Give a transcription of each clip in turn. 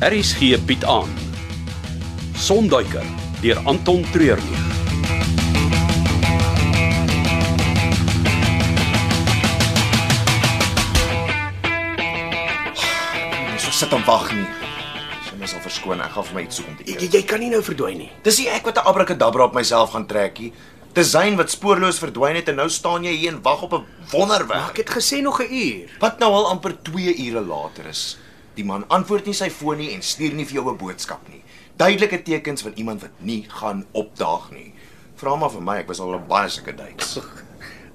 Harris gee bied aan. Sonduiker deur Anton Treurnig. Mens so sit en wag nie. Sy mens al verskoon, ek gaan vir my iets soek om te eet. Jy, jy kan nie nou verdwyn nie. Dis nie ek wat 'n abrakadabra op myself gaan trek nie. Dis Zayn wat spoorloos verdwyn het en nou staan jy hier en wag op 'n Maar wonderwerk. ek het gesê nog 'n uur. Wat nou al amper 2 ure later is. Die man antwoord nie sy foon nie en stuur nie vir jou 'n boodskap nie. Duidelike tekens van iemand wat nie gaan opdaag nie. Vra maar vir my, ek was al op baie sulke dates.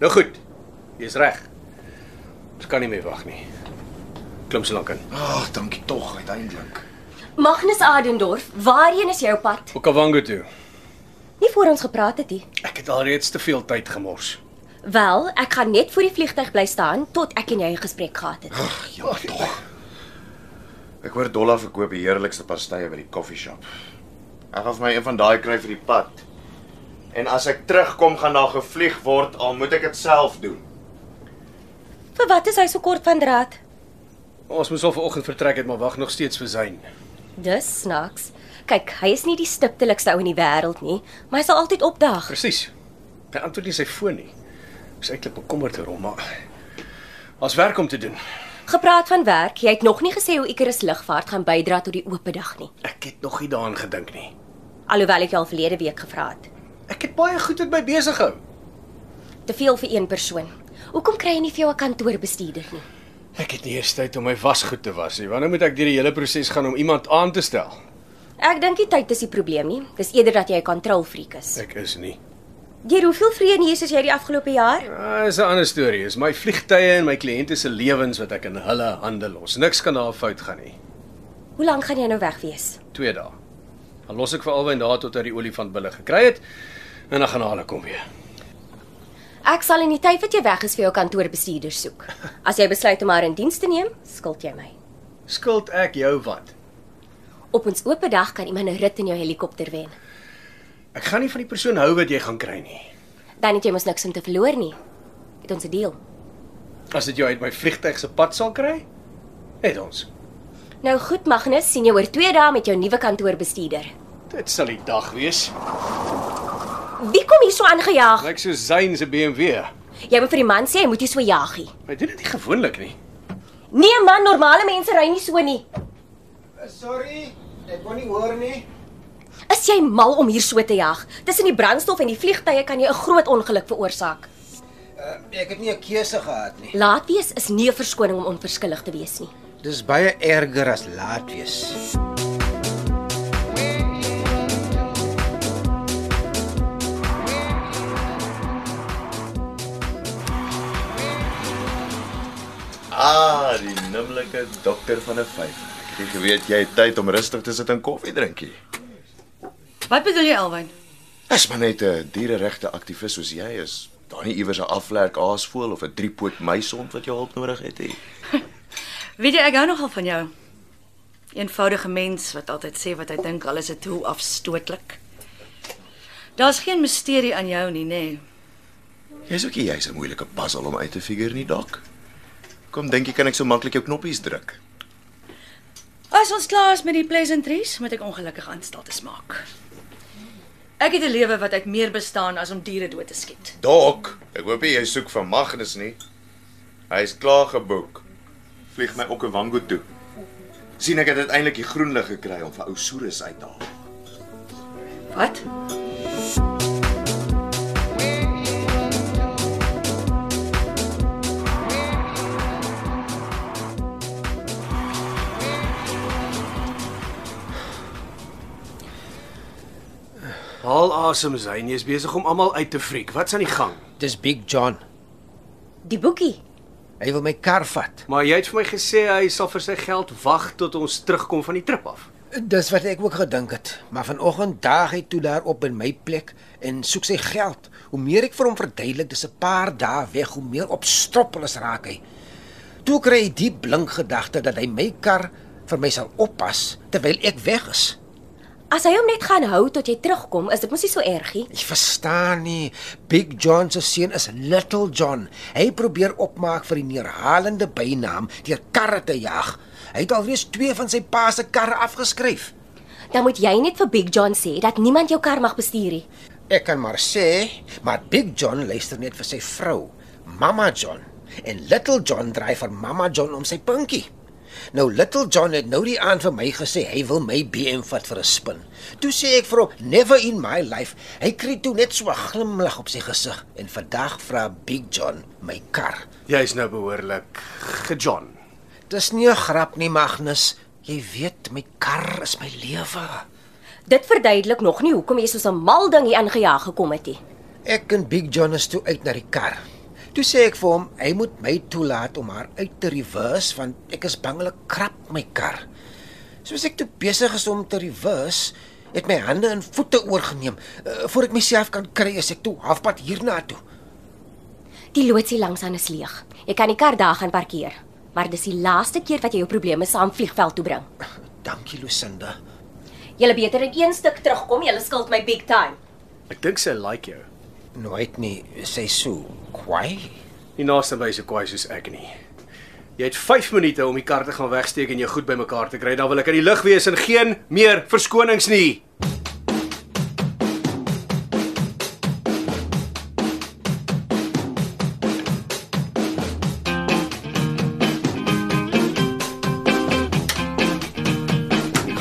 Nou goed. Jy's reg. Ons kan nie meer wag nie. Klim so lank in. Ag, dankie tog uiteindelik. Magnus Adendorf, waarheen is jy op pad? Okavango toe. Nie voor ons gepraat het nie. Ek het alreeds te veel tyd gemors. Wel, ek gaan net voor die vliegtyg bly staan tot ek en jy 'n gesprek gehad het. Ja, tog. Ek hoor Dolla verkoop die heerlikste pastye by die koffieshop. Ek gaan vir my een van daai kry vir die pad. En as ek terugkom gaan daar gevlieg word, al moet ek dit self doen. Vir wat is hy so kort van draad? Ons moes al vanoggend vertrek het, maar wag nog steeds vir Zayn. Dis snaaks. Kyk, hy is nie die stiptelikste ou in die wêreld nie, maar hy sal altyd opdaag. Presies. Hy antwoord nie sy foon nie. Ek is eintlik bekommerd oor hom, maar as werk om te doen. Gepraat van werk, jy het nog nie gesê hoe Icarus Lugvaart gaan bydra tot die oop dag nie, Ek het nog nie daaraan gedink nie. alhoewel ek jou al verlede week gevra het. Ek het baie goed met my besig gehou. Te veel vir een persoon. Hoekom kry jy nie vir jou 'n kantoorbestuurder nie? Ek het nie eers tyd om my wasgoed te was nie. Wanneer moet ek deur die hele proses gaan om iemand aan te stel? Ek dink die tyd is die probleem nie. Dis eerder dat jy 'n kontrolfreak is. Ek is nie. Deur hoeveel vrede hier is jy die afgelope jaar? Ah, dis 'n ander storie. Is my vliegtye en my kliënte se lewens wat ek in hulle hande los. Niks kan daar fout gaan nie. Hoe lank gaan jy nou weg wees? 2 dae. Dan los ek vir albei na tot hy die olifant bulle gekry het en dan gaan hulle kom weer. Ek sal in die tyd wat jy weg is vir jou kantoorbestuurder soek. As jy besluit om haar in diens te neem, skuld jy my. Skuld ek jou wat? Op ons oop dag kan iemand 'n rit in jou helikopter wen. Ek gaan nie van die persoon hou wat jy gaan kry nie. Dan het jy mos niks om te verloor nie. Het ons 'n deal. As dit jou uit my vliegtyg se pad sal kry, het ons. Nou goed Magnus, sien jou oor 2 dae met jou nuwe kantoorbestuurder. Dit sal die dag wees. Wie kom hier so aangejaag? Lyk so Zayn se BMW. Jy moet vir die man sê hy moet nie so jaagie. Hy doen dit nie gewoonlik nie. Nee man, normale mense ry nie so nie. Eh, Sorry, ek kon nie hoor nie. Is jy mal om hier so te jag? Tussen die brandstof en die vliegtye kan jy 'n groot ongeluk veroorsaak. Uh, ek het nie 'n keuse gehad nie. Laat wees is nie 'n verskoning om onverskillig te wees nie. Dis baie erger as laat wees. Ah, die nimmerlike dokter van 'n vyf. Ek het geweet jy het tyd om rustig te sit en koffie drinkie. Wat bedoel jy Alwyn? As maar net 'n diereregte aktivis soos jy is, daar nie iewers 'n aflerk aasvoël of 'n driepoot muisond wat jou hulp nodig het nie. Weet jy ek hou nogal van jou. Eenvoudige mens wat altyd sê wat hy dink, al is dit hoe afstootlik. Daar's geen misterie aan jou nie, nê? Nee. Jy's ook nie jy's 'n moeilike puzzle om uit te figure nie, dok. Kom dink jy kan ek so maklik jou knoppies druk? As ons klaar is met die pleasantries, moet ek ongelukkig aanstaltes maak. Ek het 'n lewe wat uit meer bestaan as om diere dood te skiet. Dok, ek hoop nie jy soek vir Magnus nie. Hy is klaar geboek. Vlieg my Okavango toe. sien ek het uiteindelik die groen lig gekry om vir ou Soerus uit te haal. Wat? Haal asem, Zayn, jy's besig om almal uit te friek. Wat's aan die gang? Dis Big John. Die boekie. Hy wil my kar vat. Maar jy het vir my gesê hy sal vir sy geld wag tot ons terugkom van die trip af. Dis wat ek ook gedink het, maar vanoggend daag hy toe daarop in my plek en soek sy geld. Hoe meer ek vir hom verduidelik, dis 'n paar dae weg, hoe meer opstroppelis raak hy. Toe kry hy die blink gedagte dat hy my kar vir my sal oppas terwyl ek weg is. As hy hom net gaan hou tot jy terugkom, is dit mos nie so ergie. Ek verstaan nie. Big John se seun is Little John. Hy probeer opmaak vir die neerhalende bynaam deur karre te jag. Hy het alreeds twee van sy pa se karre afgeskryf. Dan moet jy net vir Big John sê dat niemand jou kar mag bestuur nie. Ek kan maar sê, maar Big John luister net vir sy vrou, Mama John, en Little John draai vir Mama John om sy pinkie. Nou Little John het nou die aand vir my gesê hy wil my BM vat vir 'n spin. Toe sê ek vir hom, "Never in my life." Hy kry toe net so 'n glimlag op sy gesig en vandag vra Big John my kar. Jy's nou behoorlik gejon. Dis nie 'n grap nie, Magnus. Jy weet, my kar is my lewe. Dit verduidelik nog nie hoekom jy so 'n mal ding hier aangejaag gekom het nie. Ek en Big John is toe uit na die kar. Toe sê ek vir hom, hy moet my toelaat om haar uit te reverse want ek is bang hulle krap my kar. Soos ek toe besig is om te reverse, het my hande en voete oorgeneem. Uh, voor ek myself kan kry, is ek toe halfpad hiernatoe. Die loodsie langs aan is leeg. Jy kan die kar daar gaan parkeer, maar dis die laaste keer wat jy jou probleme saam vliegveld toe bring. Dankie Lusinda. Jy beter in een stuk terugkom, jy skuld my big time. Ek dink sy like jou. Nooit nie, sy so kwaai. Nie naaste by so kwaai soos ek nie. Jy het 5 minute om die kar te gaan wegsteek en jou goed bymekaar te kry. Dan wil ek in die lug wees en geen meer verskonings nie.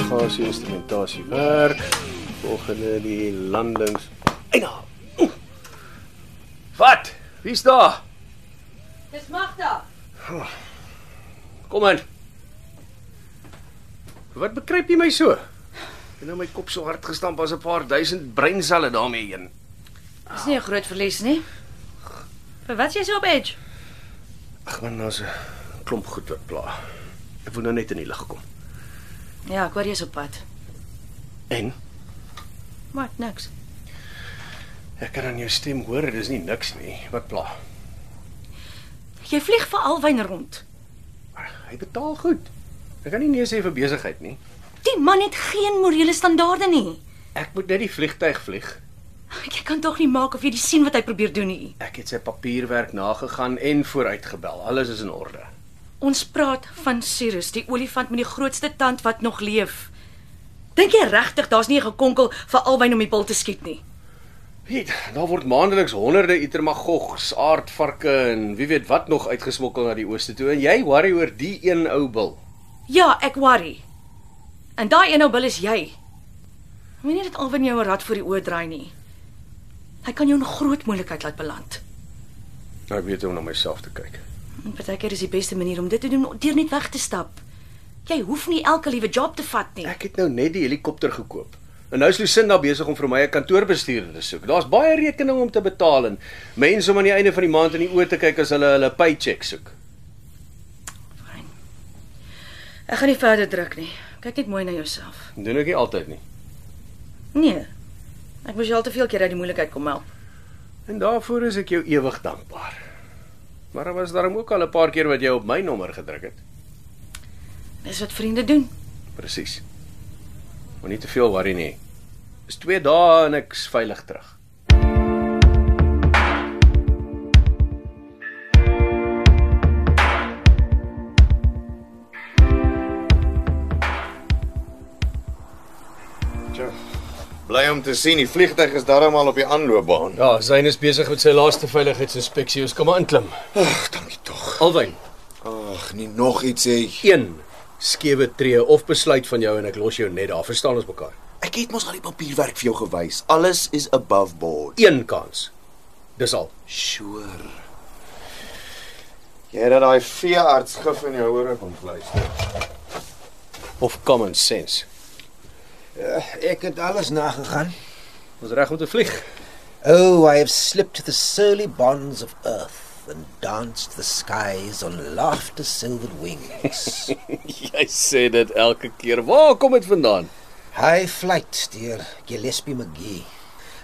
Gasie instrumentasie werk. Volgende die landings. Eina. Oeh. Wat? Wie's daar? Dis Magda. Kom in. Wat bekruip jy my so? Ek het nou my kop so hard gestamp as 'n paar duisend breinselle daarmee heen. Dis nie 'n groot verlies nie. Vir wat is jy so op edge? Ag man, daar's 'n klomp goed wat pla. Ek wil nou net in die lig kom. Ja, ek hoor jy's op pad. En Maar niks. ek kan aan jou stem hoor, dis nie niks nie. Wat pla? Jy vlieg vir Alwyn rond. Hy betaal goed. Ek kan nie nee sê vir besigheid nie. Die man het geen morele standaarde nie. Ek moet net die vliegtyg vlieg. Jy kan tog nie maak of jy die sien wat hy probeer doen nie. Ek het sy papierwerk nagegaan en vooruitgebel. Alles is in orde. Ons praat van Sirius, die olifant met die grootste tand wat nog leef. Dink jy regtig daar's nie 'n gekonkel vir Alwyn om die bil te skiet nie? Piet, daar word maandeliks honderde itermagogs, aardvarke en wie weet wat nog uitgesmokkel na die ooste toe en jy worry oor die een ou bil. Ja, ek worry. En daai een ou bil is jy. Moenie dit Alwyn jou 'n rad voor die oor draai nie. Hy kan jou in groot moeilikheid laat beland. Nou ek weet hoe om na myself te kyk. En partykeer is die beste manier om dit te doen deur net weg te stap. Jy hoef nie elke liewe job te vat nie. Ek het nou net die helikopter gekoop. En nou is Lucinda besig om vir my 'n kantoorbestuurder te soek. Daar's baie rekeninge om te betaal en mense om aan die einde van die maand in die oë te kyk as hulle hulle paycheck soek. Fyn. Ek gaan nie verder druk nie. Kyk net mooi na jouself. Doen ek nie altyd nie. Nee. Ek moes jou al te veel keer uit die moeilikheid kom help. En daarvoor is ek jou ewig dankbaar. Maar daar was daarom ook al 'n paar keer wat jy op my nommer gedruk het. Dis wat vriende doen. Presies. Moenie te veel worry nie. Dis 2 dae en ek's veilig terug. Tja. Bly om te sien, die vliegtyg is darm al op die aanloopbaan. Ja, Zayn is besig met sy laaste veiligheidsinspeksie. Ons kan maar inklim. Ag, dankie tog. Alwyn, Ag, nie nog iets sê. 1 skewe tree of besluit van jou en ek los jou net daar. Verstaan ons mekaar? Ek het mos al die papierwerk vir jou gewys. Alles is above board. Een kans. Dis al. Sure. Jy het dat daai veearts gif in jou ore kom fluister. Of common sense. Ek het alles nagegaan. Ons reg om te vlieg. Oh, I have slipped the surly bonds of earth and danced the skies on laughter silvered wings. Jy sê dit elke keer. Waar kom dit vandaan? High Flight deur Gillespie McGee.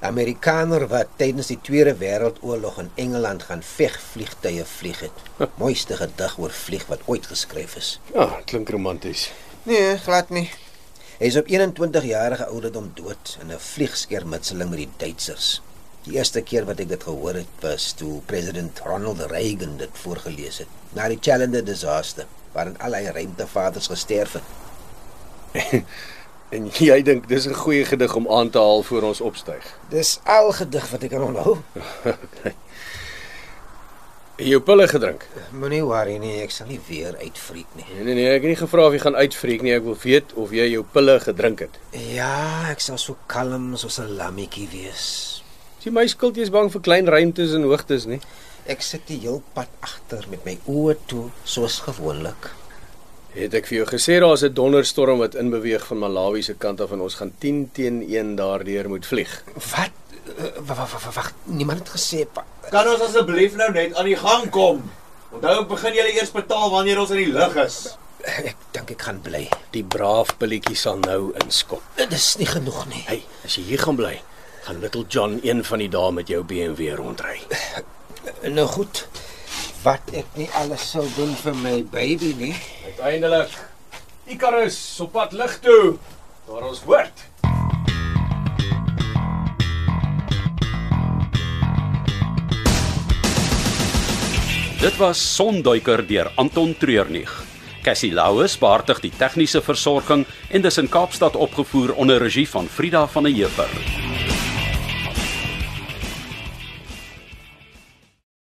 Amerikaner wat tydens die Tweede Wêreldoorlog in Engeland gaan vegvliegtye vlieg het. Mooiste gedig oor vlieg wat ooit geskryf is. Ja, klink romanties. Nee, glad nie. Hy is op 21 jarige ouderdom dood in 'n vliegskermutseling met die Duitsers. Die eerste keer wat ek dit gehoor het was toe president Ronald Reagan dit voorgeles het na die Challenger disaster waarin al hy ruimtevaders gesterf het. En jy dink dis 'n goeie gedig om aan te haal voor ons opstyg. Dis al gedig wat ek kan onthou. Het jy jou pille gedrink? Moenie worry nie, ek sal nie weer uitfreek nie. Nee nee nee, ek het nie gevra of jy gaan uitfreek nie, ek wil weet of jy jou pille gedrink het. Ja, ek sal so kalm soos 'n lammetjie wees. Dis my skuld jy's bang vir klein ruimtes en hoogtes, nee? nie? Ek sit die heel pad agter met my oë toe soos gewoonlik. Het ek vir jou gesê daar's 'n donderstorm wat inbeweeg van Malawi se kant af en ons gaan 10 teen 1 daardeur moet vlieg. Wat? Wag, niemand het gesê pa- Kan ons asseblief nou net aan die gang kom? Onthou, begin julle eers betaal wanneer ons in die lug is. ek dink ek gaan bly. Die braaf pilletjie sal nou inskop. Dit is nie genoeg nie. Hey, as jy hier gaan bly, gaan Little John een van die dae met jou BMW rondry. Nou goed. Wat ek nie alles sou doen vir my baby nie. Uiteindelik Icarus op pad lig toe. Daar ons hoort. Dit was Sonduiker deur Anton Treurnig. Cassie Louws beheer die tegniese versorging en dis in Kaapstad opgevoer onder regie van Frida van der Heever.